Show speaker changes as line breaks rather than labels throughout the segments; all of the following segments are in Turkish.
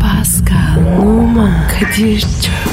Pascal, Oman, Kadir çok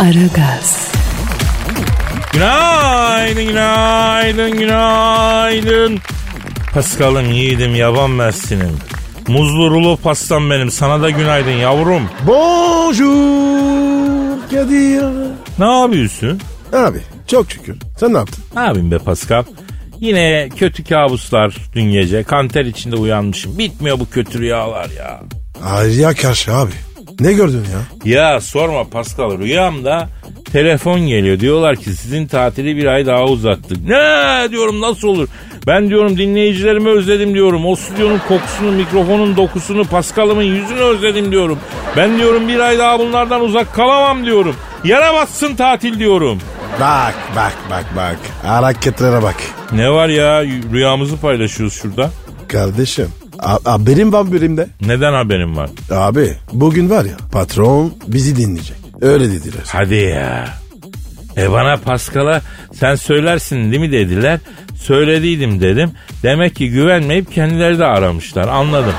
Aragaz,
Günaydın, günaydın, günaydın. Paskal'ım yiğidim yaban versinim. Muzlu rulo pastam benim. Sana da günaydın yavrum.
Bonjour Kadir.
Ne yapıyorsun?
Abi çok şükür. Sen ne yaptın?
Ne yapayım be Paskal? Yine kötü kabuslar dün gece. Kanter içinde uyanmışım. Bitmiyor bu kötü rüyalar ya.
Arya karşı abi. Ne gördün ya?
Ya sorma Pascal rüyamda telefon geliyor. Diyorlar ki sizin tatili bir ay daha uzattık. Ne diyorum nasıl olur? Ben diyorum dinleyicilerimi özledim diyorum. O stüdyonun kokusunu, mikrofonun dokusunu, Pascal'ımın yüzünü özledim diyorum. Ben diyorum bir ay daha bunlardan uzak kalamam diyorum. Yara batsın tatil diyorum.
Bak bak bak bak. Hareketlere bak.
Ne var ya rüyamızı paylaşıyoruz şurada.
Kardeşim a- haberim var birimde.
Neden haberim var?
Abi bugün var ya patron bizi dinleyecek. Öyle dediler.
Hadi ya. E bana Paskal'a sen söylersin değil mi dediler. Söylediydim dedim. Demek ki güvenmeyip kendileri de aramışlar anladım.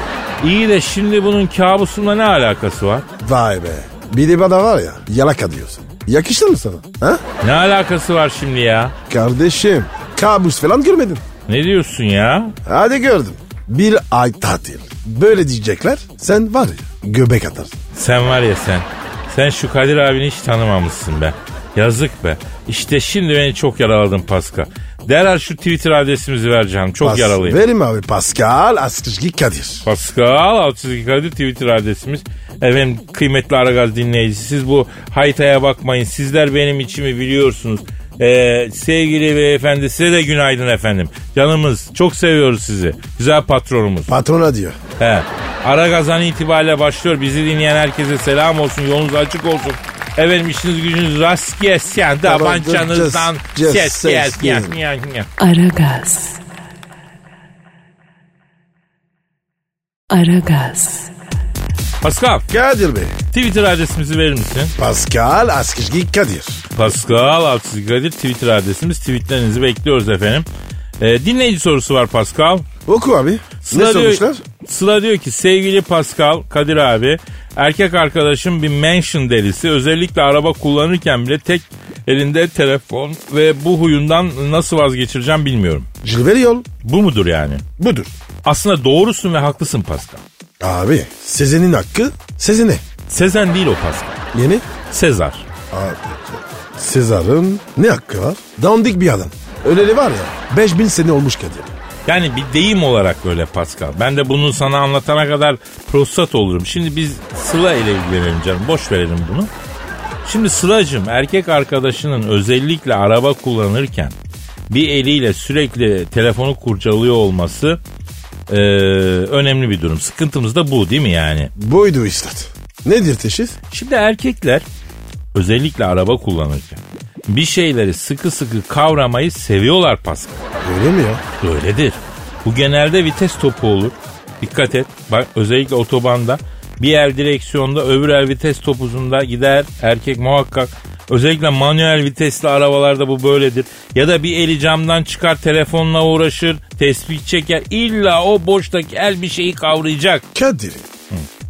İyi de şimdi bunun kabusumla ne alakası var?
Vay be. Bir de bana var ya yalaka diyorsun. Yakıştı mı sana? Ha?
Ne alakası var şimdi ya?
Kardeşim kabus falan görmedin.
Ne diyorsun ya?
Hadi gördüm. Bir ay tatil. Böyle diyecekler. Sen var ya göbek atarsın.
Sen var ya sen. Sen şu Kadir abini hiç tanımamışsın be. Yazık be. İşte şimdi beni çok yaraladın Pascal. Derhal şu Twitter adresimizi ver canım. Çok
Pas-
yaralıyım.
Verim abi Pascal Askışki Kadir.
Pascal Altçizgi Kadir Twitter adresimiz. Efendim kıymetli Aragaz dinleyicisi siz bu haytaya bakmayın. Sizler benim içimi biliyorsunuz. Ee, sevgili beyefendi size de günaydın efendim. Canımız çok seviyoruz sizi. Güzel patronumuz.
Patrona diyor.
He. Aragaz an itibariyle başlıyor. Bizi dinleyen herkese selam olsun. Yolunuz açık olsun. Efendim işiniz gücünüz rast gelsin. Tabancanızdan
just-
ses
just
gelsin.
gelsin.
Ya, ya.
Aragaz. Aragaz,
Pascal
Kadir Bey.
Twitter adresimizi verir misin?
Pascal Askışki Kadir.
Pascal Altçizgi Kadir Twitter adresimiz. Tweetlerinizi bekliyoruz efendim. Ee, dinleyici sorusu var Pascal.
Oku abi. ne
diyor,
sormuşlar?
Sıla diyor ki sevgili Pascal, Kadir abi erkek arkadaşım bir mention delisi. Özellikle araba kullanırken bile tek elinde telefon ve bu huyundan nasıl vazgeçireceğim bilmiyorum.
Jilveri yol.
Bu mudur yani?
Budur.
Aslında doğrusun ve haklısın Pascal.
Abi Sezen'in hakkı Sezen'e.
Sezen değil o Pascal.
Yeni.
Sezar.
Abi. Sezar'ın ne hakkı var? Dandik bir adam. Öleli var ya 5000 sene olmuş Kadir.
Yani bir deyim olarak öyle Pascal. Ben de bunu sana anlatana kadar prostat olurum. Şimdi biz Sıla ile ilgilenelim canım. Boş verelim bunu. Şimdi Sıla'cığım erkek arkadaşının özellikle araba kullanırken bir eliyle sürekli telefonu kurcalıyor olması eee, önemli bir durum. Sıkıntımız da bu değil mi yani?
Buydu istat. Nedir teşhis?
Şimdi erkekler özellikle araba kullanırken bir şeyleri sıkı sıkı kavramayı seviyorlar Pascal.
Öyle mi ya?
Öyledir. Bu genelde vites topu olur. Dikkat et. Bak özellikle otobanda bir el direksiyonda öbür el vites topuzunda gider erkek muhakkak. Özellikle manuel vitesli arabalarda bu böyledir. Ya da bir eli camdan çıkar telefonla uğraşır, tespih çeker. İlla o boştaki el bir şeyi kavrayacak.
Kadir.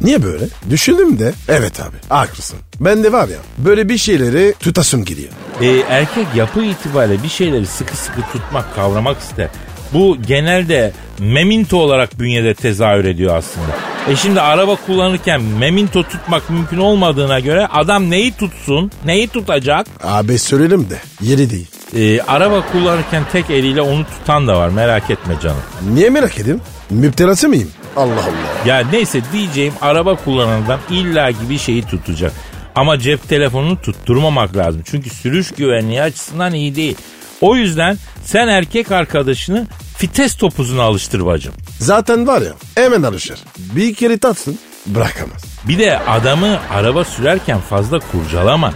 Niye böyle? Düşündüm de. Evet abi haklısın. Ben de var ya böyle bir şeyleri tutasım giriyor.
Ee, erkek yapı itibariyle bir şeyleri sıkı sıkı tutmak, kavramak ister. Bu genelde memento olarak bünyede tezahür ediyor aslında. E şimdi araba kullanırken memento tutmak mümkün olmadığına göre adam neyi tutsun, neyi tutacak?
Abi söyleyelim de yeri değil.
Ee, araba kullanırken tek eliyle onu tutan da var merak etme canım.
Niye merak edeyim? Müptelası mıyım? Allah Allah.
Ya neyse diyeceğim araba kullanandan illaki bir şeyi tutacak. Ama cep telefonunu tutturmamak lazım. Çünkü sürüş güvenliği açısından iyi değil. O yüzden sen erkek arkadaşını fites topuzuna alıştır bacım.
Zaten var ya hemen alışır. Bir kere tatsın bırakamaz.
Bir de adamı araba sürerken fazla kurcalama.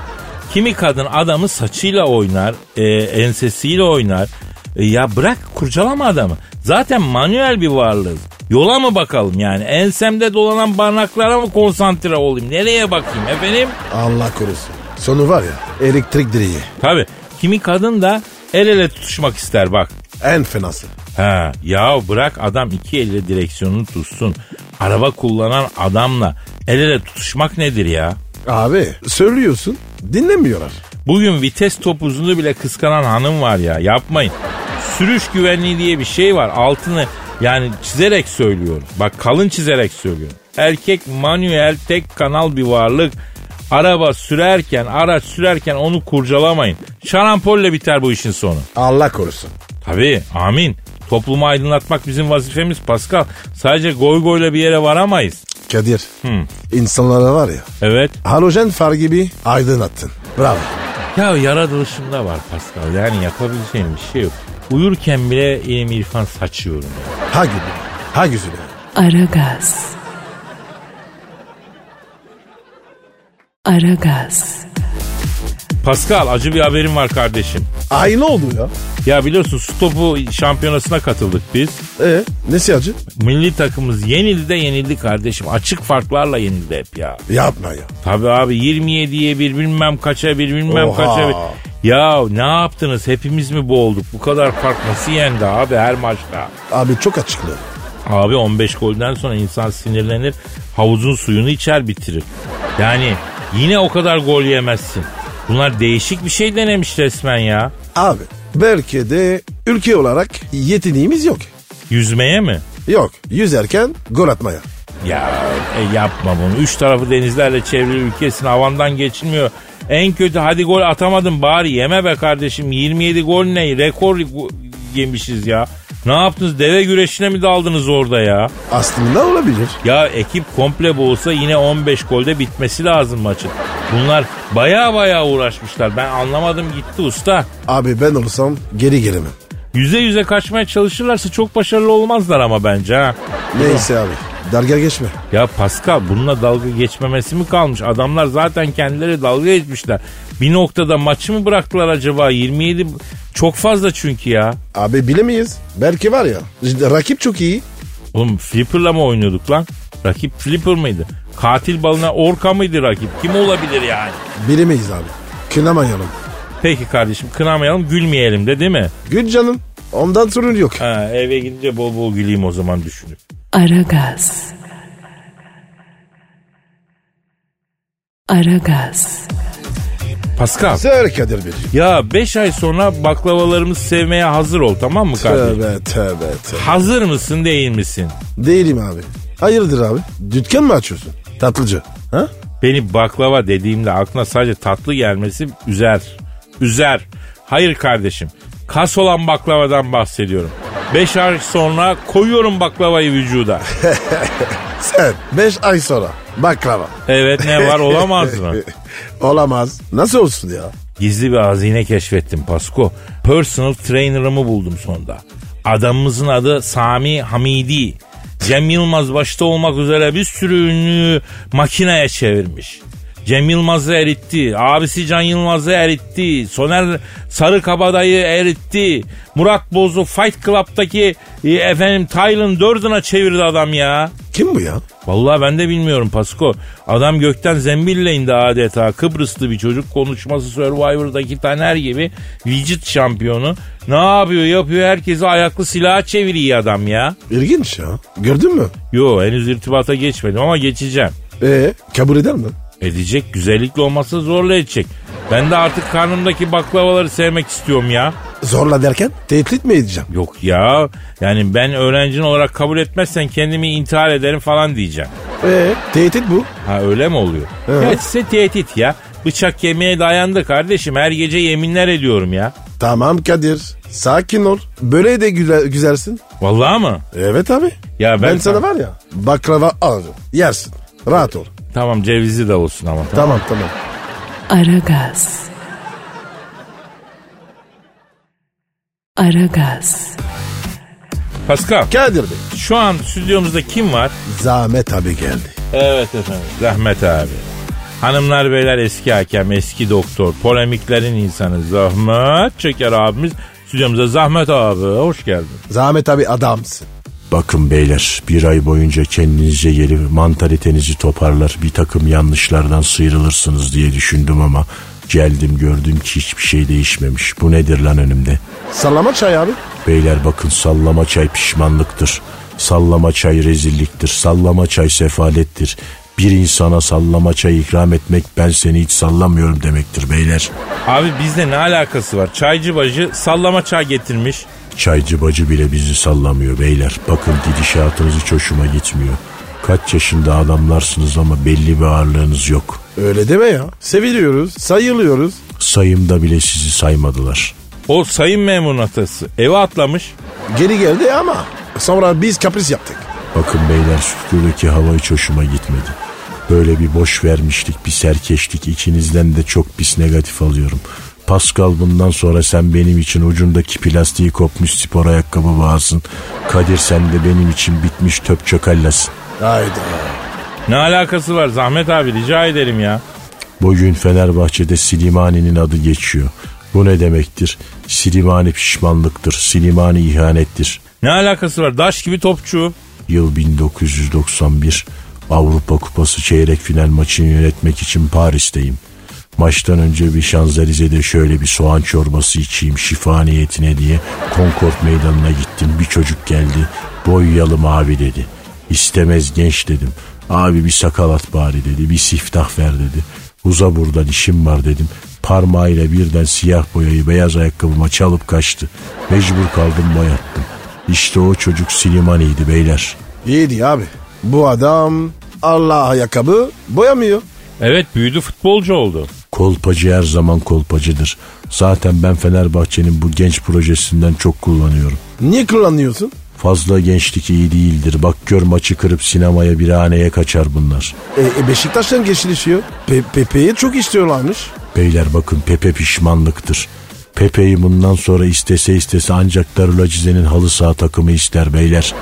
Kimi kadın adamı saçıyla oynar, e, ensesiyle oynar. E, ya bırak kurcalama adamı. Zaten manuel bir varlığız. Yola mı bakalım yani? Ensemde dolanan barnaklara mı konsantre olayım? Nereye bakayım efendim?
Allah korusun. Sonu var ya elektrik direği.
Tabii kimi kadın da el ele tutuşmak ister bak.
En fenası.
Ha, ya bırak adam iki elle direksiyonunu tutsun. Araba kullanan adamla el ele tutuşmak nedir ya?
Abi söylüyorsun dinlemiyorlar.
Bugün vites topuzunu bile kıskanan hanım var ya yapmayın. Sürüş güvenliği diye bir şey var altını yani çizerek söylüyorum. Bak kalın çizerek söylüyorum. Erkek manuel tek kanal bir varlık. Araba sürerken araç sürerken onu kurcalamayın. Şarampolle biter bu işin sonu.
Allah korusun.
Tabii amin. Toplumu aydınlatmak bizim vazifemiz Pascal. Sadece goy goyla bir yere varamayız.
Kadir insanlara var ya
Evet.
halojen far gibi aydınlattın. Bravo.
Ya yaratılışımda var Pascal. Yani yapabileceğim bir şey yok. Uyurken bile ilim irfan saçıyorum.
Ha gibi. Ha güzeli.
Aragaz. Aragaz.
Pascal acı bir haberim var kardeşim.
Ay ne oldu ya?
Ya biliyorsun stopu şampiyonasına katıldık biz.
E nesi acı?
Milli takımımız yenildi de yenildi kardeşim. Açık farklarla yenildi hep ya.
Yapma ya.
Tabii abi 27'ye bir bilmem kaça bir bilmem
Oha.
kaça bir. Ya ne yaptınız hepimiz mi boğulduk? Bu kadar fark nasıl yendi abi her maçta?
Abi çok açıklı.
Abi 15 golden sonra insan sinirlenir. Havuzun suyunu içer bitirir. Yani yine o kadar gol yemezsin. Bunlar değişik bir şey denemiş resmen ya.
Abi belki de ülke olarak yeteneğimiz yok.
Yüzmeye mi?
Yok yüzerken gol atmaya.
Ya e, yapma bunu. Üç tarafı denizlerle çevrili ülkesin havandan geçilmiyor. En kötü hadi gol atamadım bari yeme be kardeşim. 27 gol ne? Rekor go- yemişiz ya. Ne yaptınız? Deve güreşine mi daldınız orada ya?
Aslında olabilir.
Ya ekip komple boğulsa yine 15 golde bitmesi lazım maçın. Bunlar baya baya uğraşmışlar. Ben anlamadım gitti usta.
Abi ben olsam geri gelemem.
Yüze yüze kaçmaya çalışırlarsa çok başarılı olmazlar ama bence ha.
Neyse abi darga geçme.
Ya Pascal bununla dalga geçmemesi mi kalmış? Adamlar zaten kendileri dalga geçmişler. Bir noktada maçı mı bıraktılar acaba? 27 çok fazla çünkü ya.
Abi bilemeyiz. Belki var ya rakip çok iyi.
Oğlum Flipper'la mı oynuyorduk lan? Rakip Flipper mıydı? Katil balına Orka mıydı rakip? Kim olabilir yani?
Bilemeyiz abi. Kınamayalım.
Peki kardeşim kınamayalım gülmeyelim de değil mi?
Gül canım. Ondan sorun yok.
Ha, eve gidince bol bol güleyim o zaman düşünüp.
Aragaz. Aragaz.
Pascal.
Söyle Kadir Bey.
Ya 5 ay sonra baklavalarımızı sevmeye hazır ol tamam mı kardeşim?
Tövbe tövbe tövbe.
Hazır mısın değil misin?
Değilim abi. Hayırdır abi? Dükkan mı açıyorsun? Tatlıcı. Ha?
Beni baklava dediğimde aklına sadece tatlı gelmesi üzer. Üzer. Hayır kardeşim. Kas olan baklavadan bahsediyorum. 5 ay sonra koyuyorum baklavayı vücuda.
Sen 5 ay sonra baklava.
Evet ne var olamaz mı?
Olamaz. Nasıl olsun ya?
Gizli bir hazine keşfettim Pasko. Personal trainer'ımı buldum sonunda. Adamımızın adı Sami Hamidi. Cem Yılmaz başta olmak üzere bir sürü ünlü makineye çevirmiş. Cem Yılmaz'ı eritti. Abisi Can Yılmaz'ı eritti. Soner Sarıkabadayı eritti. Murat Boz'u Fight Club'daki e, efendim Tylen Durden'a çevirdi adam ya.
Kim bu ya?
Vallahi ben de bilmiyorum Pasko. Adam gökten zembille indi adeta. Kıbrıslı bir çocuk konuşması Survivor'daki Taner gibi vücut şampiyonu. Ne yapıyor yapıyor herkesi ayaklı silaha çeviriyor adam ya.
İlginç ya. Gördün mü?
Yo henüz irtibata geçmedim ama geçeceğim.
Ee, kabul eder mi?
Edecek güzellikle olmasa zorla edecek. Ben de artık karnımdaki baklavaları sevmek istiyorum ya.
Zorla derken tehdit mi edeceğim?
Yok ya yani ben öğrencin olarak kabul etmezsen kendimi intihar ederim falan diyeceğim.
Ee, tehdit bu.
Ha öyle mi oluyor?
Evet.
Ya size tehdit ya. Bıçak yemeğe dayandı kardeşim. Her gece yeminler ediyorum ya.
Tamam Kadir. Sakin ol. Böyle de güzel, güzelsin.
Vallahi mı?
Evet abi.
Ya ben,
Ben, sana var ya baklava alırım. Yersin. Rahat ol.
Tamam cevizi de olsun ama. Tamam.
Tamam tamam.
Aragaz. Aragaz.
Pascal
Kadir Bey.
şu an stüdyomuzda kim var?
Zahmet abi geldi.
Evet efendim. Zahmet abi. Hanımlar beyler eski hakem, eski doktor, polemiklerin insanı Zahmet Çeker abimiz stüdyomuza Zahmet abi hoş geldin.
Zahmet abi adamsın.
Bakın beyler bir ay boyunca kendinize gelip mantalitenizi toparlar bir takım yanlışlardan sıyrılırsınız diye düşündüm ama geldim gördüm ki hiçbir şey değişmemiş. Bu nedir lan önümde?
Sallama çay abi.
Beyler bakın sallama çay pişmanlıktır. Sallama çay rezilliktir. Sallama çay sefalettir. Bir insana sallama çay ikram etmek ben seni hiç sallamıyorum demektir beyler.
Abi bizde ne alakası var? Çaycı bacı sallama çay getirmiş.
Çaycı bacı bile bizi sallamıyor beyler. Bakın gidişatınız hiç hoşuma gitmiyor. Kaç yaşında adamlarsınız ama belli bir ağırlığınız yok.
Öyle deme ya. Seviliyoruz, sayılıyoruz.
Sayımda bile sizi saymadılar.
O sayın memurun atası eve atlamış.
Geri geldi ama sonra biz kapris yaptık.
Bakın beyler stüdyodaki hava hiç hoşuma gitmedi. Böyle bir boş vermişlik, bir serkeşlik ikinizden de çok pis negatif alıyorum. Pascal bundan sonra sen benim için ucundaki plastiği kopmuş spor ayakkabı bağırsın. Kadir sen de benim için bitmiş töp çökallasın.
Haydi.
Ne alakası var Zahmet abi rica ederim ya.
Bugün Fenerbahçe'de Silimani'nin adı geçiyor. Bu ne demektir? Silimani pişmanlıktır, Silimani ihanettir.
Ne alakası var daş gibi topçu.
Yıl 1991 Avrupa Kupası çeyrek final maçını yönetmek için Paris'teyim. Maçtan önce bir Şanzelize'de şöyle bir soğan çorbası içeyim şifa niyetine diye Concord meydanına gittim. Bir çocuk geldi. Boyayalım abi dedi. İstemez genç dedim. Abi bir sakal at bari dedi. Bir siftah ver dedi. Uza buradan işim var dedim. Parmağıyla birden siyah boyayı beyaz ayakkabıma çalıp kaçtı. Mecbur kaldım boyattım. İşte o çocuk Silimani'ydi beyler.
İyiydi abi. Bu adam Allah ayakkabı boyamıyor.
Evet büyüdü futbolcu oldu.
Kolpacı her zaman kolpacıdır. Zaten ben Fenerbahçe'nin bu genç projesinden çok kullanıyorum.
Niye kullanıyorsun?
Fazla gençlik iyi değildir. Bak gör maçı kırıp sinemaya bir haneye kaçar bunlar.
E, e Beşiktaş'tan geçilişiyor. Pe Pepe'yi çok istiyorlarmış.
Beyler bakın Pepe pişmanlıktır. Pepe'yi bundan sonra istese istese ancak Darül Acize'nin halı saha takımı ister beyler.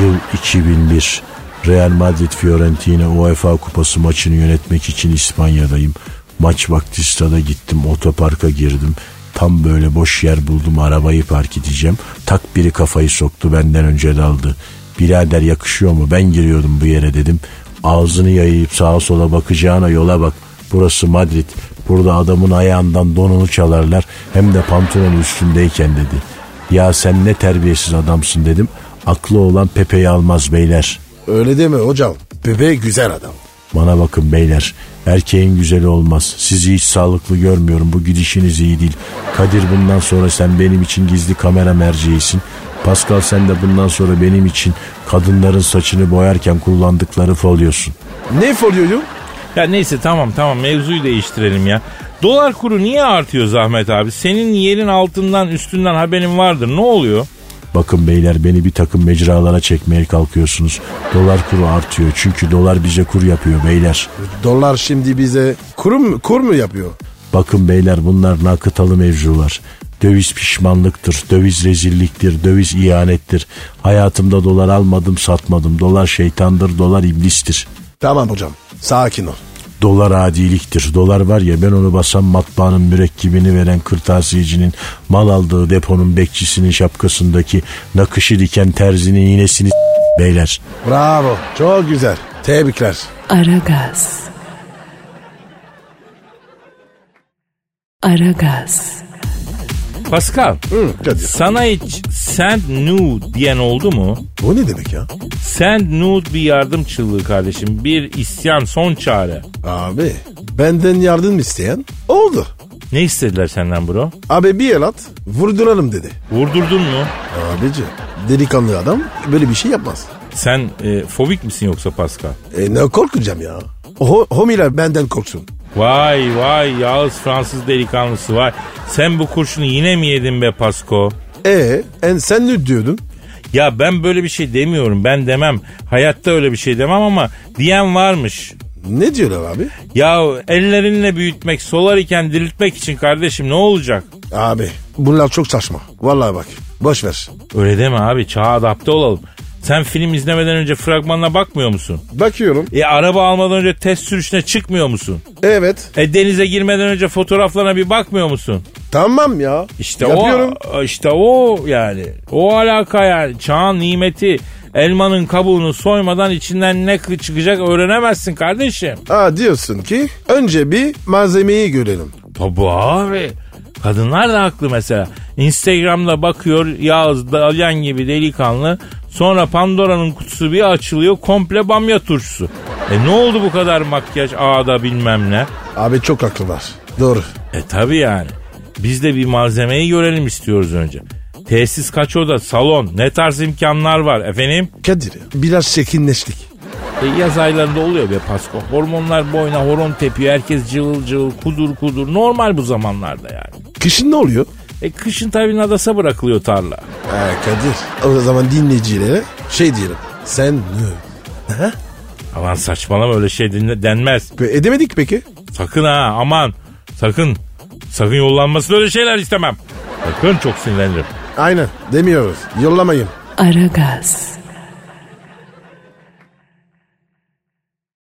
Yıl 2001. Real Madrid Fiorentina UEFA Kupası maçını yönetmek için İspanya'dayım. Maç vakti stada gittim otoparka girdim. Tam böyle boş yer buldum arabayı park edeceğim. Tak biri kafayı soktu benden önce daldı. Birader yakışıyor mu ben giriyordum bu yere dedim. Ağzını yayıp sağa sola bakacağına yola bak. Burası Madrid. Burada adamın ayağından donunu çalarlar hem de pantolonu üstündeyken dedi. Ya sen ne terbiyesiz adamsın dedim. Aklı olan Pepe'yi almaz beyler.
Öyle deme hocam. Pepe güzel adam.
Bana bakın beyler. Erkeğin güzeli olmaz. Sizi hiç sağlıklı görmüyorum. Bu gidişiniz iyi değil. Kadir bundan sonra sen benim için gizli kamera merceğisin. Pascal sen de bundan sonra benim için kadınların saçını boyarken kullandıkları folyosun.
Ne folyoyu?
Ya neyse tamam tamam mevzuyu değiştirelim ya. Dolar kuru niye artıyor Zahmet abi? Senin yerin altından üstünden haberin vardır. Ne oluyor?
Bakın beyler beni bir takım mecralara çekmeye kalkıyorsunuz. Dolar kuru artıyor çünkü dolar bize kur yapıyor beyler.
Dolar şimdi bize kur mu, kur mu yapıyor?
Bakın beyler bunlar nakıtalı mevzular. Döviz pişmanlıktır, döviz rezilliktir, döviz ihanettir. Hayatımda dolar almadım satmadım. Dolar şeytandır, dolar iblistir.
Tamam hocam. Sakin ol.
Dolar adiliktir. Dolar var ya ben onu basan matbaanın mürekkebini veren kırtasiyecinin mal aldığı deponun bekçisinin şapkasındaki nakışı diken terzinin iğnesini s- beyler.
Bravo. Çok güzel. Tebrikler.
Aragaz. Aragaz.
Pascal
Hı, Kadir.
sana hiç send nude diyen oldu mu?
Bu ne demek ya?
Send nude bir yardım çığlığı kardeşim. Bir isyan son çare.
Abi benden yardım isteyen oldu.
Ne istediler senden bro?
Abi bir el at vurduralım dedi.
Vurdurdun mu?
Abici delikanlı adam böyle bir şey yapmaz.
Sen e, fobik misin yoksa Pascal?
E ne korkacağım ya? Ho homiler benden korksun.
Vay vay Yağız Fransız delikanlısı vay. Sen bu kurşunu yine mi yedin be Pasko?
E en sen ne diyordun?
Ya ben böyle bir şey demiyorum. Ben demem. Hayatta öyle bir şey demem ama diyen varmış.
Ne diyorlar abi?
Ya ellerinle büyütmek, solar iken diriltmek için kardeşim ne olacak?
Abi bunlar çok saçma. Vallahi bak Boş ver.
Öyle deme abi çağa adapte olalım. Sen film izlemeden önce fragmanına bakmıyor musun?
Bakıyorum.
E araba almadan önce test sürüşüne çıkmıyor musun?
Evet.
E denize girmeden önce fotoğraflarına bir bakmıyor musun?
Tamam ya.
İşte
Yapıyorum.
o işte o yani. O alaka yani. Çağın nimeti elmanın kabuğunu soymadan içinden ne kı- çıkacak öğrenemezsin kardeşim.
Ha diyorsun ki önce bir malzemeyi görelim.
Tabi abi. Kadınlar da haklı mesela. Instagram'da bakıyor Yağız Dalyan gibi delikanlı. Sonra Pandora'nın kutusu bir açılıyor komple bamya turşusu. E ne oldu bu kadar makyaj ağda bilmem ne.
Abi çok haklılar. Doğru.
E tabi yani. Biz de bir malzemeyi görelim istiyoruz önce. Tesis kaç oda, salon, ne tarz imkanlar var efendim?
Kadir ya, biraz çekinleştik.
E, yaz aylarında oluyor be Pasko. Hormonlar boyuna horon tepiyor. Herkes cıvıl cıvıl, kudur kudur. Normal bu zamanlarda yani.
Kışın ne oluyor?
E kışın tabii nadasa bırakılıyor tarla.
Ha Kadir. O zaman dinleyicilere şey diyelim. Sen ne?
Aman saçmalama öyle şey dinle- denmez.
Böyle Edemedik peki.
Sakın ha aman. Sakın. Sakın yollanmasın öyle şeyler istemem. Sakın çok sinirlenirim.
Aynen demiyoruz. Yollamayın.
Aragaz.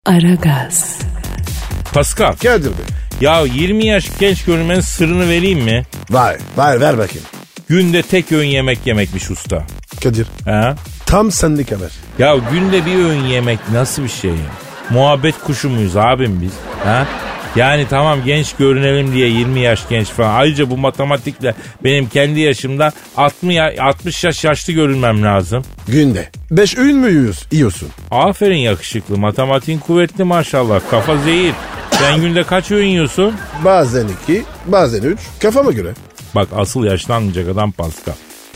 Aragaz.
Pascal.
Kadir Bey.
Ya 20 yaş genç görünmenin sırrını vereyim mi?
Vay vay ver bakayım.
Günde tek öğün yemek yemekmiş usta.
Kadir
Ha?
tam senlik haber.
Ya günde bir öğün yemek nasıl bir şey? ya? Muhabbet kuşu muyuz abim biz? Ha? Yani tamam genç görünelim diye 20 yaş genç falan. Ayrıca bu matematikle benim kendi yaşımda 60 ya- 60 yaş yaşlı görünmem lazım.
Günde. Beş öğün mü yiyorsun? yiyorsun?
Aferin yakışıklı. Matematiğin kuvvetli maşallah. Kafa zehir. Sen günde kaç öğün yiyorsun?
Bazen iki, bazen üç. Kafama göre.
Bak asıl yaşlanmayacak adam Pascal.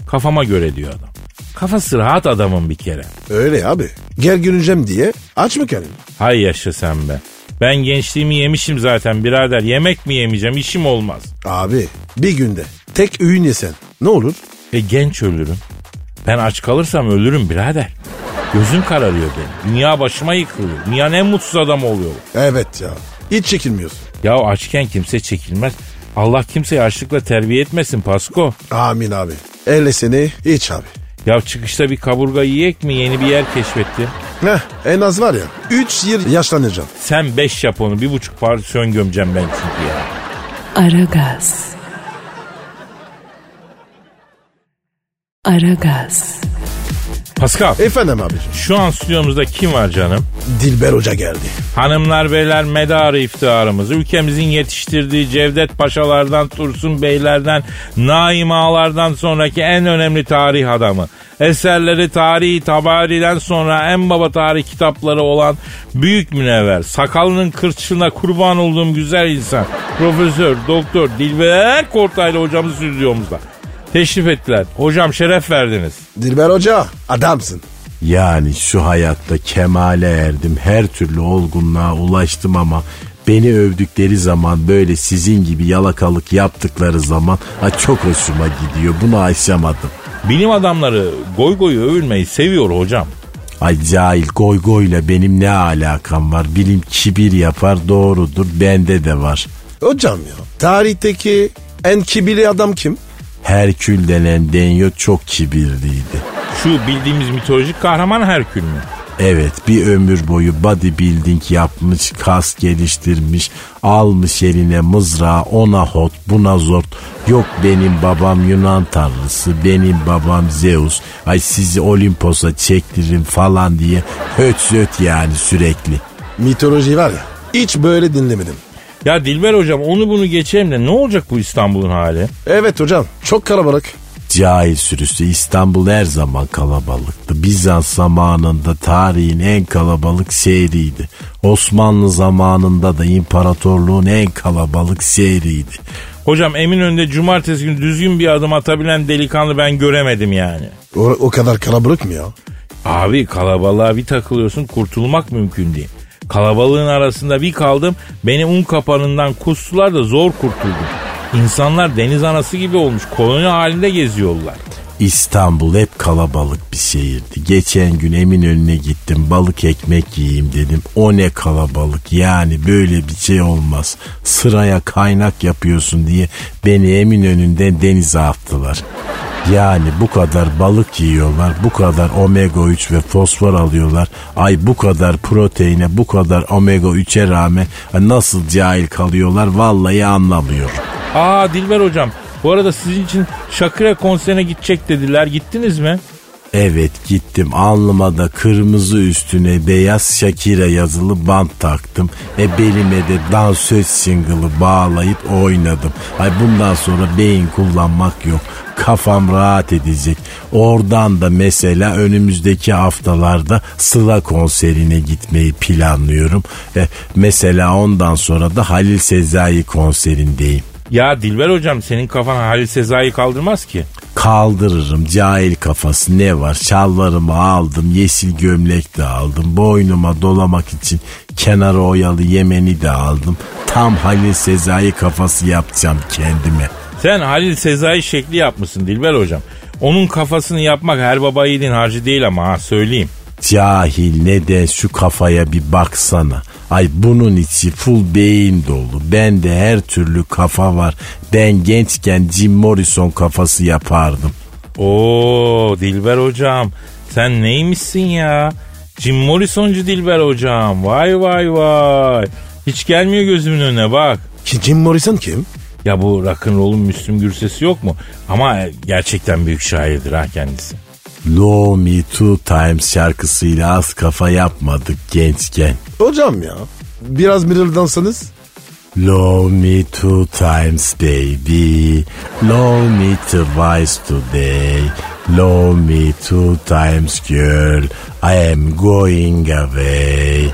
Kafama göre diyor adam. Kafası rahat adamın bir kere.
Öyle ya abi. Gel görüneceğim diye aç mı kendini?
Hay yaşa sen be. Ben gençliğimi yemişim zaten birader. Yemek mi yemeyeceğim işim olmaz.
Abi bir günde tek öğün yesen ne olur?
E genç ölürüm. Ben aç kalırsam ölürüm birader. Gözüm kararıyor benim. Dünya başıma yıkılıyor. Dünyanın en mutsuz adamı oluyorum.
Evet ya. Hiç çekilmiyorsun.
Ya açken kimse çekilmez. Allah kimseyi açlıkla terbiye etmesin Pasko.
Amin abi. Elle seni iç abi.
Ya çıkışta bir kaburga yiyek mi yeni bir yer keşfetti.
Heh, en az var ya 3 yıl yaşlanacağım.
Sen beş yap onu bir buçuk partisyon gömeceğim ben çünkü ya.
Aragaz. Aragaz.
Pascal
Efendim abicim.
şu an stüdyomuzda kim var canım?
Dilber Hoca geldi.
Hanımlar beyler medarı iftiharımız. Ülkemizin yetiştirdiği Cevdet Paşalardan, Tursun Beylerden, Naim Ağalardan sonraki en önemli tarih adamı. Eserleri tarihi tabariden sonra en baba tarih kitapları olan büyük münevver. Sakalının kırçığına kurban olduğum güzel insan. Profesör, doktor Dilber Kortaylı hocamız stüdyomuzda. Teşrif ettiler. Hocam şeref verdiniz.
Dilber Hoca adamsın.
Yani şu hayatta kemale erdim, her türlü olgunluğa ulaştım ama beni övdükleri zaman böyle sizin gibi yalakalık yaptıkları zaman ha, çok hoşuma gidiyor. Bunu aşamadım.
Bilim adamları goy goy övülmeyi seviyor hocam.
Ay cahil goy goyla benim ne alakam var? Bilim kibir yapar doğrudur bende de var.
Hocam ya tarihteki en kibirli adam kim?
Herkül denen denyo çok kibirliydi.
Şu bildiğimiz mitolojik kahraman Herkül mü?
Evet bir ömür boyu bodybuilding yapmış, kas geliştirmiş, almış eline mızrağı ona hot buna zort. Yok benim babam Yunan tanrısı, benim babam Zeus, ay sizi Olimpos'a çektiririm falan diye höt söt yani sürekli.
Mitoloji var ya hiç böyle dinlemedim.
Ya Dilber hocam onu bunu geçelim de ne olacak bu İstanbul'un hali?
Evet hocam çok kalabalık.
Cahil sürüsü İstanbul her zaman kalabalıktı. Bizans zamanında tarihin en kalabalık şehriydi. Osmanlı zamanında da imparatorluğun en kalabalık şehriydi.
Hocam Eminönü'nde cumartesi günü düzgün bir adım atabilen delikanlı ben göremedim yani.
O, o kadar kalabalık mı ya?
Abi kalabalığa bir takılıyorsun kurtulmak mümkün değil. Kalabalığın arasında bir kaldım beni un kapanından kustular da zor kurtuldum. İnsanlar deniz anası gibi olmuş koloni halinde geziyorlar.
İstanbul hep kalabalık bir şehirdi. Geçen gün Eminönü'ne gittim balık ekmek yiyeyim dedim. O ne kalabalık yani böyle bir şey olmaz. Sıraya kaynak yapıyorsun diye beni Eminönü'nden denize attılar. Yani bu kadar balık yiyorlar, bu kadar omega 3 ve fosfor alıyorlar. Ay bu kadar proteine, bu kadar omega 3'e rağmen nasıl cahil kalıyorlar vallahi anlamıyorum.
Aa Dilber hocam bu arada sizin için Şakira konserine gidecek dediler. Gittiniz mi?
Evet gittim alnıma da kırmızı üstüne beyaz Shakira yazılı bant taktım. E belime de dansöz single'ı bağlayıp oynadım. Ay bundan sonra beyin kullanmak yok. Kafam rahat edecek. Oradan da mesela önümüzdeki haftalarda Sıla konserine gitmeyi planlıyorum. E, mesela ondan sonra da Halil Sezai konserindeyim.
Ya Dilber hocam senin kafan Halil Sezai'yi kaldırmaz ki.
Kaldırırım cahil kafası ne var şalvarımı aldım yeşil gömlek de aldım boynuma dolamak için kenara oyalı yemeni de aldım tam Halil Sezai kafası yapacağım kendime.
Sen Halil Sezai şekli yapmışsın Dilber hocam. Onun kafasını yapmak her baba yiğidin harcı değil ama ha söyleyeyim.
Cahil ne de şu kafaya bir baksana. Ay bunun içi full beyin dolu. Bende her türlü kafa var. Ben gençken Jim Morrison kafası yapardım.
Oo Dilber hocam sen neymişsin ya? Jim Morrison'cu Dilber hocam. Vay vay vay. Hiç gelmiyor gözümün önüne bak.
Ki Jim Morrison kim?
Ya bu rock'n'roll'un Müslüm Gürses'i yok mu? Ama gerçekten büyük şairdir ha kendisi.
Low Me Two Times şarkısıyla az kafa yapmadık gençken.
Hocam ya. Biraz mırıldansanız.
Love me two times baby, love me twice today, love me two times girl, I am going away.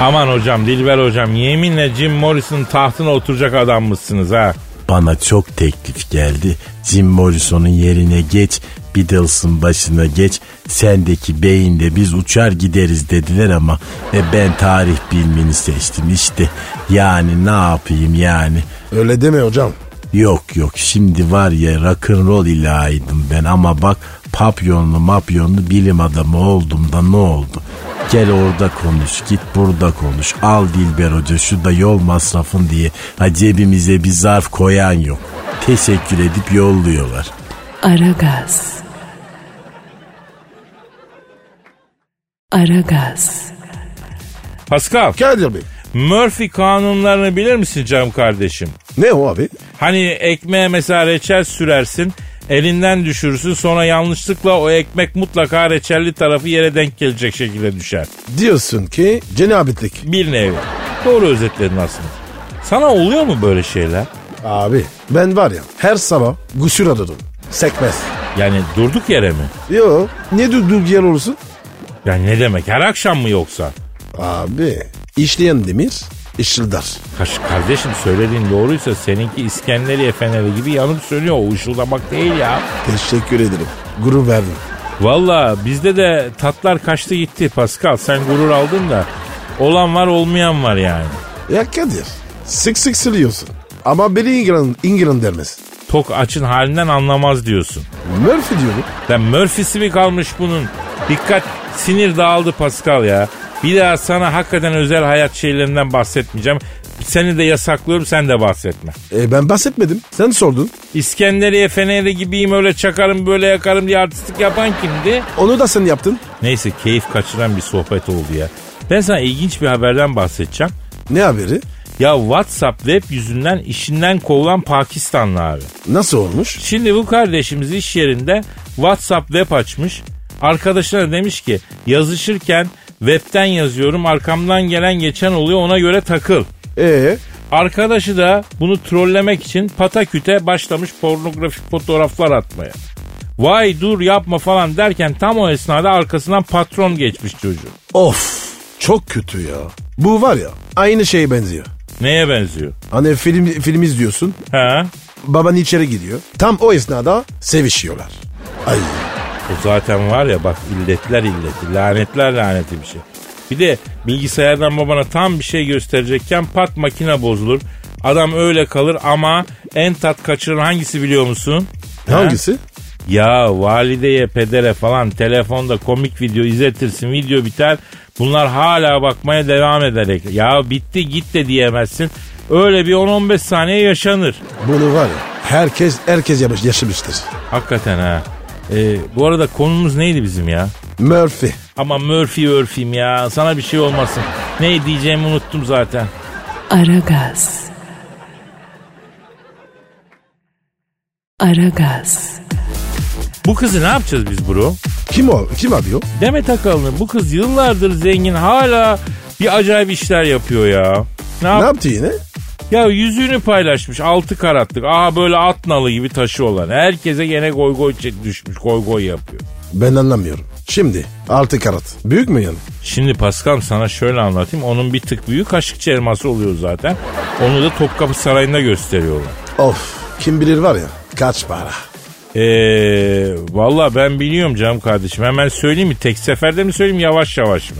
Aman hocam Dilber hocam yeminle Jim Morrison'ın tahtına oturacak adam mısınız ha?
Bana çok teklif geldi. Jim Morrison'un yerine geç, Beatles'ın başına geç, sendeki beyinde biz uçar gideriz dediler ama e, ben tarih bilmini seçtim işte. Yani ne yapayım yani.
Öyle deme hocam.
Yok yok şimdi var ya rock'n'roll ilahiydim ben ama bak papyonlu mapyonlu bilim adamı oldum da ne oldu? Gel orada konuş git burada konuş al Dilber Hoca şu da yol masrafın diye ha cebimize bir zarf koyan yok. Teşekkür edip yolluyorlar.
Aragaz. Aragaz.
Pascal,
Kadir Bey.
Murphy kanunlarını bilir misin canım kardeşim?
Ne o abi?
Hani ekmeğe mesela reçel sürersin, elinden düşürürsün sonra yanlışlıkla o ekmek mutlaka reçelli tarafı yere denk gelecek şekilde düşer.
Diyorsun ki cenabetlik.
Bir nevi. Doğru özetledin aslında. Sana oluyor mu böyle şeyler?
Abi ben var ya her sabah gusül adadım. Sekmez.
Yani durduk yere mi?
Yo ne durduk yer olursun?
Yani ne demek? Her akşam mı yoksa?
Abi işleyen demir ışıldar.
Kaş, kardeşim söylediğin doğruysa seninki İskenderiye feneri gibi yanıp sönüyor. O ışıldamak değil ya.
Teşekkür ederim. Gurur verdim.
Valla bizde de tatlar kaçtı gitti Pascal. Sen gurur aldın da olan var olmayan var yani.
Ya Kadir sık sık siliyorsun. Ama beni İngiliz, İngiliz dermez.
Tok açın halinden anlamaz diyorsun.
Murphy diyorum.
Ben Murphy'si mi kalmış bunun? Dikkat sinir dağıldı Pascal ya. Bir daha sana hakikaten özel hayat şeylerinden bahsetmeyeceğim. Seni de yasaklıyorum sen de bahsetme.
E, ben bahsetmedim. Sen sordun.
İskenderiye Feneri gibiyim öyle çakarım böyle yakarım diye artistlik yapan kimdi?
Onu da sen yaptın.
Neyse keyif kaçıran bir sohbet oldu ya. Ben sana ilginç bir haberden bahsedeceğim.
Ne haberi?
Ya WhatsApp web yüzünden işinden kovulan Pakistanlı abi.
Nasıl olmuş?
Şimdi bu kardeşimiz iş yerinde WhatsApp web açmış. Arkadaşına demiş ki yazışırken webten yazıyorum arkamdan gelen geçen oluyor ona göre takıl.
Ee,
Arkadaşı da bunu trollemek için pataküte başlamış pornografik fotoğraflar atmaya. Vay dur yapma falan derken tam o esnada arkasından patron geçmiş çocuğu.
of çok kötü ya. Bu var ya aynı şeye benziyor.
Neye benziyor?
Hani film, film izliyorsun.
Ha?
Baban içeri giriyor. Tam o esnada sevişiyorlar. Ay
O zaten var ya bak illetler illeti, lanetler laneti bir şey. Bir de bilgisayardan babana tam bir şey gösterecekken pat makine bozulur. Adam öyle kalır ama en tat kaçıran hangisi biliyor musun? Ha?
hangisi?
Ya valideye, pedere falan telefonda komik video izletirsin, video biter. Bunlar hala bakmaya devam ederek. Ya bitti git de diyemezsin. Öyle bir 10-15 saniye yaşanır.
Bunu var ya herkes herkes yapmış, yaşamıştır.
Hakikaten ha. Ee, bu arada konumuz neydi bizim ya?
Murphy.
Ama Murphy Örfim ya sana bir şey olmasın. Ne diyeceğimi unuttum zaten.
Aragaz. Aragaz.
Bu kızı ne yapacağız biz bro?
Kim o? Kim abi o?
Demet Akalın bu kız yıllardır zengin hala bir acayip işler yapıyor ya. Ne, yap-
Ne yaptı yine?
Ya yüzüğünü paylaşmış 6 karatlık. Aha böyle at nalı gibi taşı olan. Herkese gene goy goy çe- düşmüş. Goy goy yapıyor.
Ben anlamıyorum. Şimdi altı karat. Büyük mü yani?
Şimdi Pascal sana şöyle anlatayım. Onun bir tık büyük kaşıkçı elması oluyor zaten. Onu da Topkapı Sarayı'nda gösteriyorlar.
Of kim bilir var ya kaç para.
Eee valla Ee, ben biliyorum canım kardeşim. Hemen söyleyeyim mi? Tek seferde mi söyleyeyim yavaş yavaş mı?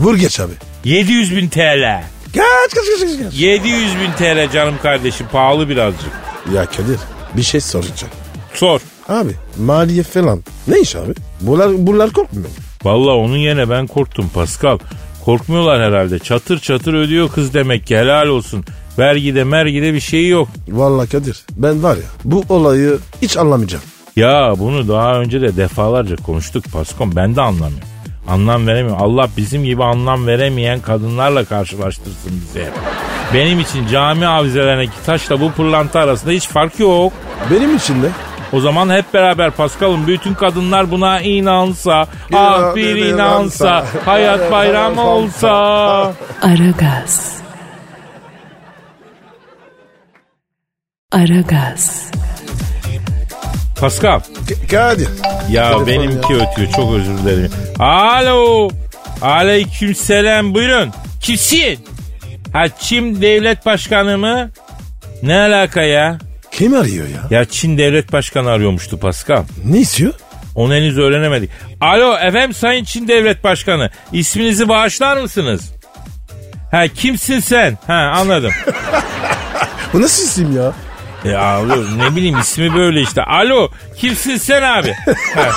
Vur geç abi.
700 bin TL.
Kaç kaç kaç kaç. kaç.
700 bin TL canım kardeşim. Pahalı birazcık.
Ya Kadir bir şey soracağım.
Sor.
Abi maliye falan. Ne iş abi? Bunlar, bunlar korkmuyor mu?
Valla onun yerine ben korktum Pascal. Korkmuyorlar herhalde. Çatır çatır ödüyor kız demek ki helal olsun. Vergide mergide bir şey yok.
Vallahi Kadir ben var ya bu olayı hiç anlamayacağım.
Ya bunu daha önce de defalarca konuştuk Paskom. Ben de anlamıyorum. Anlam veremiyorum. Allah bizim gibi anlam veremeyen kadınlarla karşılaştırsın bizi hep. Benim için cami avizelerindeki taşla bu pırlanta arasında hiç fark yok.
Benim için de
O zaman hep beraber Paskal'ım bütün kadınlar buna inansa, ah bir inansa, hayat bayram olsa.
Aragaz. Aragaz.
Paskal.
K- Kadir.
Ya
Telefon
benimki ötüyor çok özür dilerim. Alo. Aleyküm selam buyurun. Kimsin? Ha Çin devlet başkanı mı? Ne alaka ya?
Kim arıyor ya?
Ya Çin devlet başkanı arıyormuştu Pascal.
Ne istiyor?
Onu henüz öğrenemedik. Alo efendim sayın Çin devlet başkanı. İsminizi bağışlar mısınız? Ha kimsin sen? Ha anladım.
Bu nasıl isim ya?
Ya abi E, ne bileyim ismi böyle işte. Alo kimsin sen abi? Ha.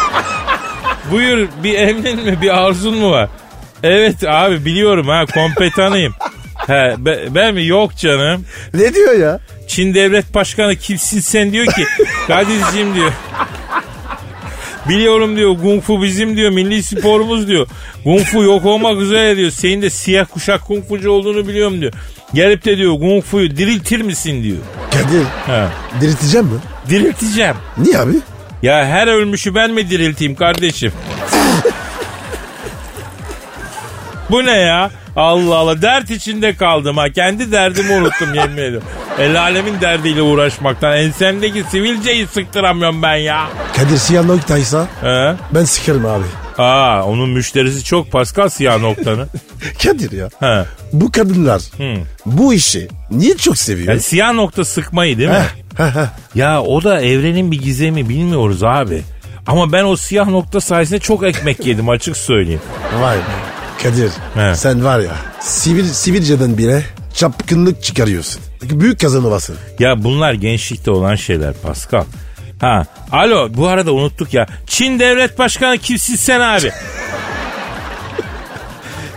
Buyur bir emrin mi bir arzun mu var? Evet abi biliyorum ha kompetanıyım. He, be- ben mi? Yok canım.
Ne diyor ya?
Çin devlet başkanı kimsin sen diyor ki Kadir'cim diyor. Biliyorum diyor kung fu bizim diyor milli sporumuz diyor. Kung fu yok olmak üzere diyor. Senin de siyah kuşak kung fucu olduğunu biliyorum diyor. Gelip de diyor kung fuyu diriltir misin diyor.
Kadir
He.
dirilteceğim mi?
Dirilteceğim.
Niye abi?
Ya her ölmüşü ben mi dirilteyim kardeşim? Bu ne ya? Allah Allah dert içinde kaldım ha. Kendi derdimi unuttum yemin ediyorum. El alemin derdiyle uğraşmaktan ensemdeki sivilceyi sıktıramıyorum ben ya.
Kadir siyah noktaysa
He?
ben sikerim abi.
Aa onun müşterisi çok Pascal siyah noktanın.
Kadir ya
He.
bu kadınlar bu işi niye çok seviyor?
Yani siyah nokta sıkmayı değil mi?
Heh, heh.
Ya o da evrenin bir gizemi bilmiyoruz abi. Ama ben o siyah nokta sayesinde çok ekmek yedim açık söyleyeyim.
Vay be. Kadir
He.
sen var ya sivil, sivilceden bile çapkınlık çıkarıyorsun. Büyük kazanıvasın.
Ya bunlar gençlikte olan şeyler Pascal. Ha, alo bu arada unuttuk ya. Çin devlet başkanı kimsin sen abi?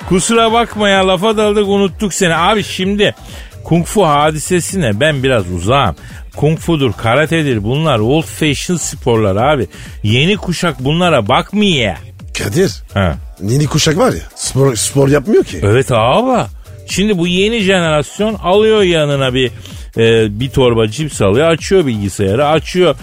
Kusura bakma ya lafa daldık unuttuk seni. Abi şimdi Kung Fu hadisesine ben biraz uzağım. Kung Fu'dur, karatedir bunlar old fashion sporlar abi. Yeni kuşak bunlara bakmıyor.
Kadir
Ha.
yeni kuşak var ya spor, spor yapmıyor ki.
Evet abi. Şimdi bu yeni jenerasyon alıyor yanına bir e, bir torba cips alıyor. Açıyor bilgisayarı, açıyor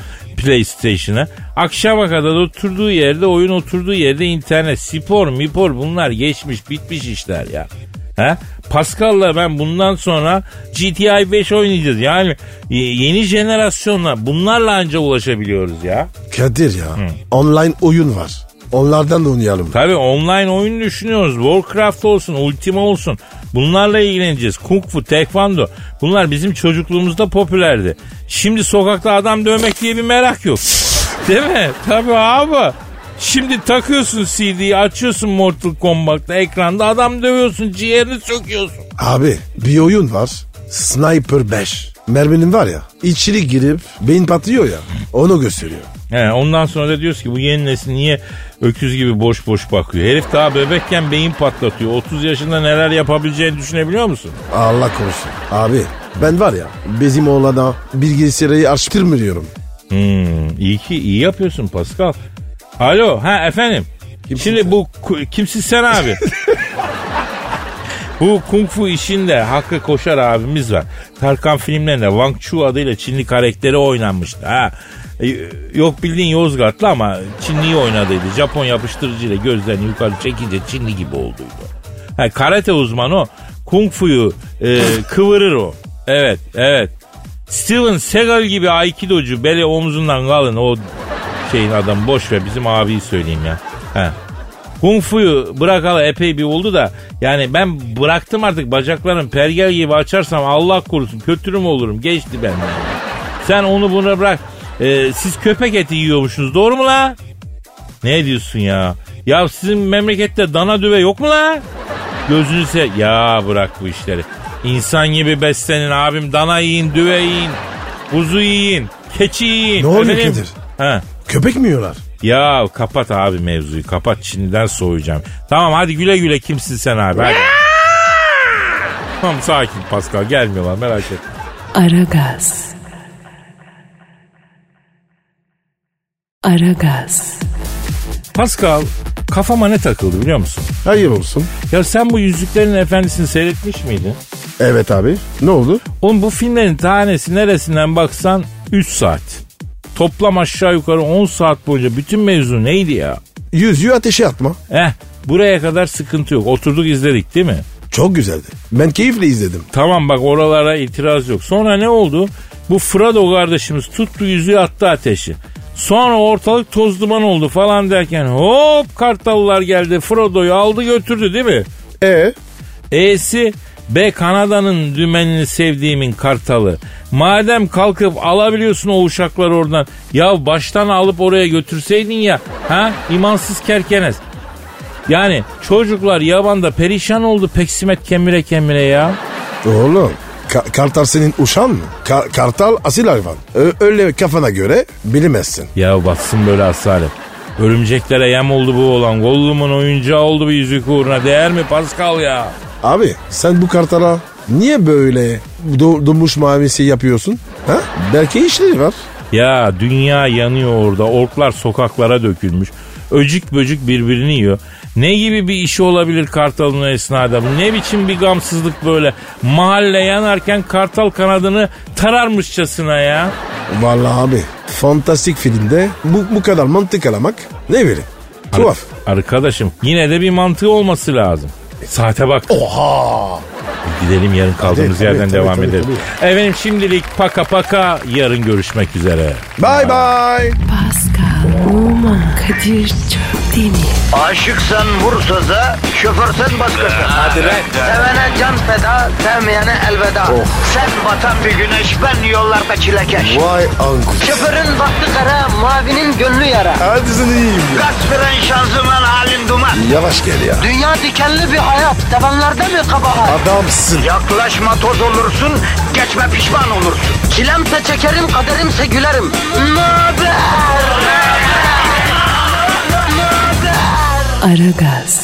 PlayStation'ı. Akşama kadar oturduğu yerde, oyun oturduğu yerde internet, spor, mipor bunlar geçmiş, bitmiş işler ya. He? Pascal'la ben bundan sonra GTI 5 oynayacağız. Yani e, yeni jenerasyonla bunlarla anca ulaşabiliyoruz ya.
Kadir ya online oyun var. Onlardan da oynayalım.
Tabii online oyun düşünüyoruz. Warcraft olsun, Ultima olsun. Bunlarla ilgileneceğiz. Kung Fu, Taekwondo. Bunlar bizim çocukluğumuzda popülerdi. Şimdi sokakta adam dövmek diye bir merak yok. Değil mi? Tabii abi. Şimdi takıyorsun CD'yi açıyorsun Mortal Kombat'ta ekranda adam dövüyorsun ciğerini söküyorsun.
Abi bir oyun var. Sniper 5. Merminin var ya içeri girip beyin patlıyor ya onu gösteriyor.
He, ondan sonra da diyoruz ki bu yeni nesil niye öküz gibi boş boş bakıyor. Herif daha bebekken beyin patlatıyor. 30 yaşında neler yapabileceğini düşünebiliyor musun?
Allah korusun. Abi ben var ya bizim oğlana bilgisayarı açtırmıyorum.
Hmm, iyi ki iyi yapıyorsun Pascal. Alo ha efendim.
Kimsin
Şimdi bu ku- kimsin sen abi? bu kung fu işinde Hakkı Koşar abimiz var. Tarkan filmlerinde Wang Chu adıyla Çinli karakteri oynanmıştı. Ha. E, Yok bildiğin Yozgatlı ama Çinli'yi oynadıydı. Japon yapıştırıcıyla gözlerini yukarı çekince Çinli gibi olduydu. Ha, karate uzmanı o. Kung fu'yu e, kıvırır o. Evet, evet. Steven Seagal gibi Aikidocu beli omzundan kalın o şeyin adam boş ver bizim abiyi söyleyeyim ya. Ha. Kung Fu'yu bırakalı epey bir oldu da yani ben bıraktım artık bacaklarım pergel gibi açarsam Allah korusun kötürüm olurum geçti benden. Sen onu bunu bırak. Ee, siz köpek eti yiyormuşsunuz doğru mu la? Ne diyorsun ya? Ya sizin memlekette dana düve yok mu la? Gözünü se ya bırak bu işleri. İnsan gibi beslenin abim dana yiyin düve yiyin. Kuzu yiyin. Keçi yiyin.
Ne oluyor
Efendim?
Kadir?
Ha.
Köpek mi yiyorlar?
Ya kapat abi mevzuyu kapat Çin'den soğuyacağım. Tamam hadi güle güle kimsin sen abi hadi. tamam sakin Pascal gelmiyorlar merak etme.
Aragaz. Aragaz.
Pascal kafama ne takıldı biliyor musun?
Hayır olsun.
Ya sen bu Yüzüklerin Efendisi'ni seyretmiş miydin?
Evet abi. Ne oldu?
Oğlum bu filmlerin tanesi neresinden baksan 3 saat. Toplam aşağı yukarı 10 saat boyunca bütün mevzu neydi ya?
Yüzüğü ateşe atma.
Eh buraya kadar sıkıntı yok. Oturduk izledik değil mi?
Çok güzeldi. Ben keyifle izledim.
Tamam bak oralara itiraz yok. Sonra ne oldu? Bu Frado kardeşimiz tuttu yüzüğü attı ateşi. Sonra ortalık toz duman oldu falan derken hop kartallar geldi Frodo'yu aldı götürdü değil mi?
E
E'si B Kanada'nın dümenini sevdiğimin kartalı. Madem kalkıp alabiliyorsun o uşakları oradan. Ya baştan alıp oraya götürseydin ya. Ha? İmansız kerkenes. Yani çocuklar yabanda perişan oldu peksimet kemire kemire ya.
oğlum. Ka- kartal senin uşan mı? Ka- kartal asil hayvan. Ö- öyle kafana göre bilemezsin.
Ya batsın böyle asalet. Örümceklere yem oldu bu olan. Gollum'un oyuncağı oldu bu yüzük uğruna. Değer mi Pascal ya?
Abi sen bu kartala niye böyle do- domuz mavisi yapıyorsun? Ha? Belki işleri var.
Ya dünya yanıyor orada. Orklar sokaklara dökülmüş. Öcük böcük birbirini yiyor. Ne gibi bir işi olabilir Kartal'ın o esnada? Bu ne biçim bir gamsızlık böyle? Mahalle yanarken Kartal kanadını tararmışçasına ya.
Vallahi abi fantastik filmde bu, bu kadar mantık alamak ne bileyim. Tuhaf.
Arkadaşım yine de bir mantığı olması lazım. E, Saate bak. Oha. Gidelim yarın kaldığımız
tabii,
yerden
tabii,
devam
tabii,
edelim. Efendim şimdilik paka paka yarın görüşmek üzere.
Bye bye.
Pascal, Oman, Kadir çok değil mi?
Aşıksan vursa da şoförsen başkasın. Hadi
lan.
Sevene can feda, sevmeyene elveda. Sen batan bir güneş, ben yollarda çilekeş.
Vay anku.
Şoförün baktı kara, mavinin gönlü yara.
Hadi sen iyiyim ya.
Kasperen şanzıman halin duman.
Yavaş gel ya.
Dünya dikenli bir hayat, sevenlerde mi kabahar?
Adamsın.
Yaklaşma toz olursun, geçme pişman olursun. Çilemse çekerim, kaderimse gülerim. Möber!
Aragaz.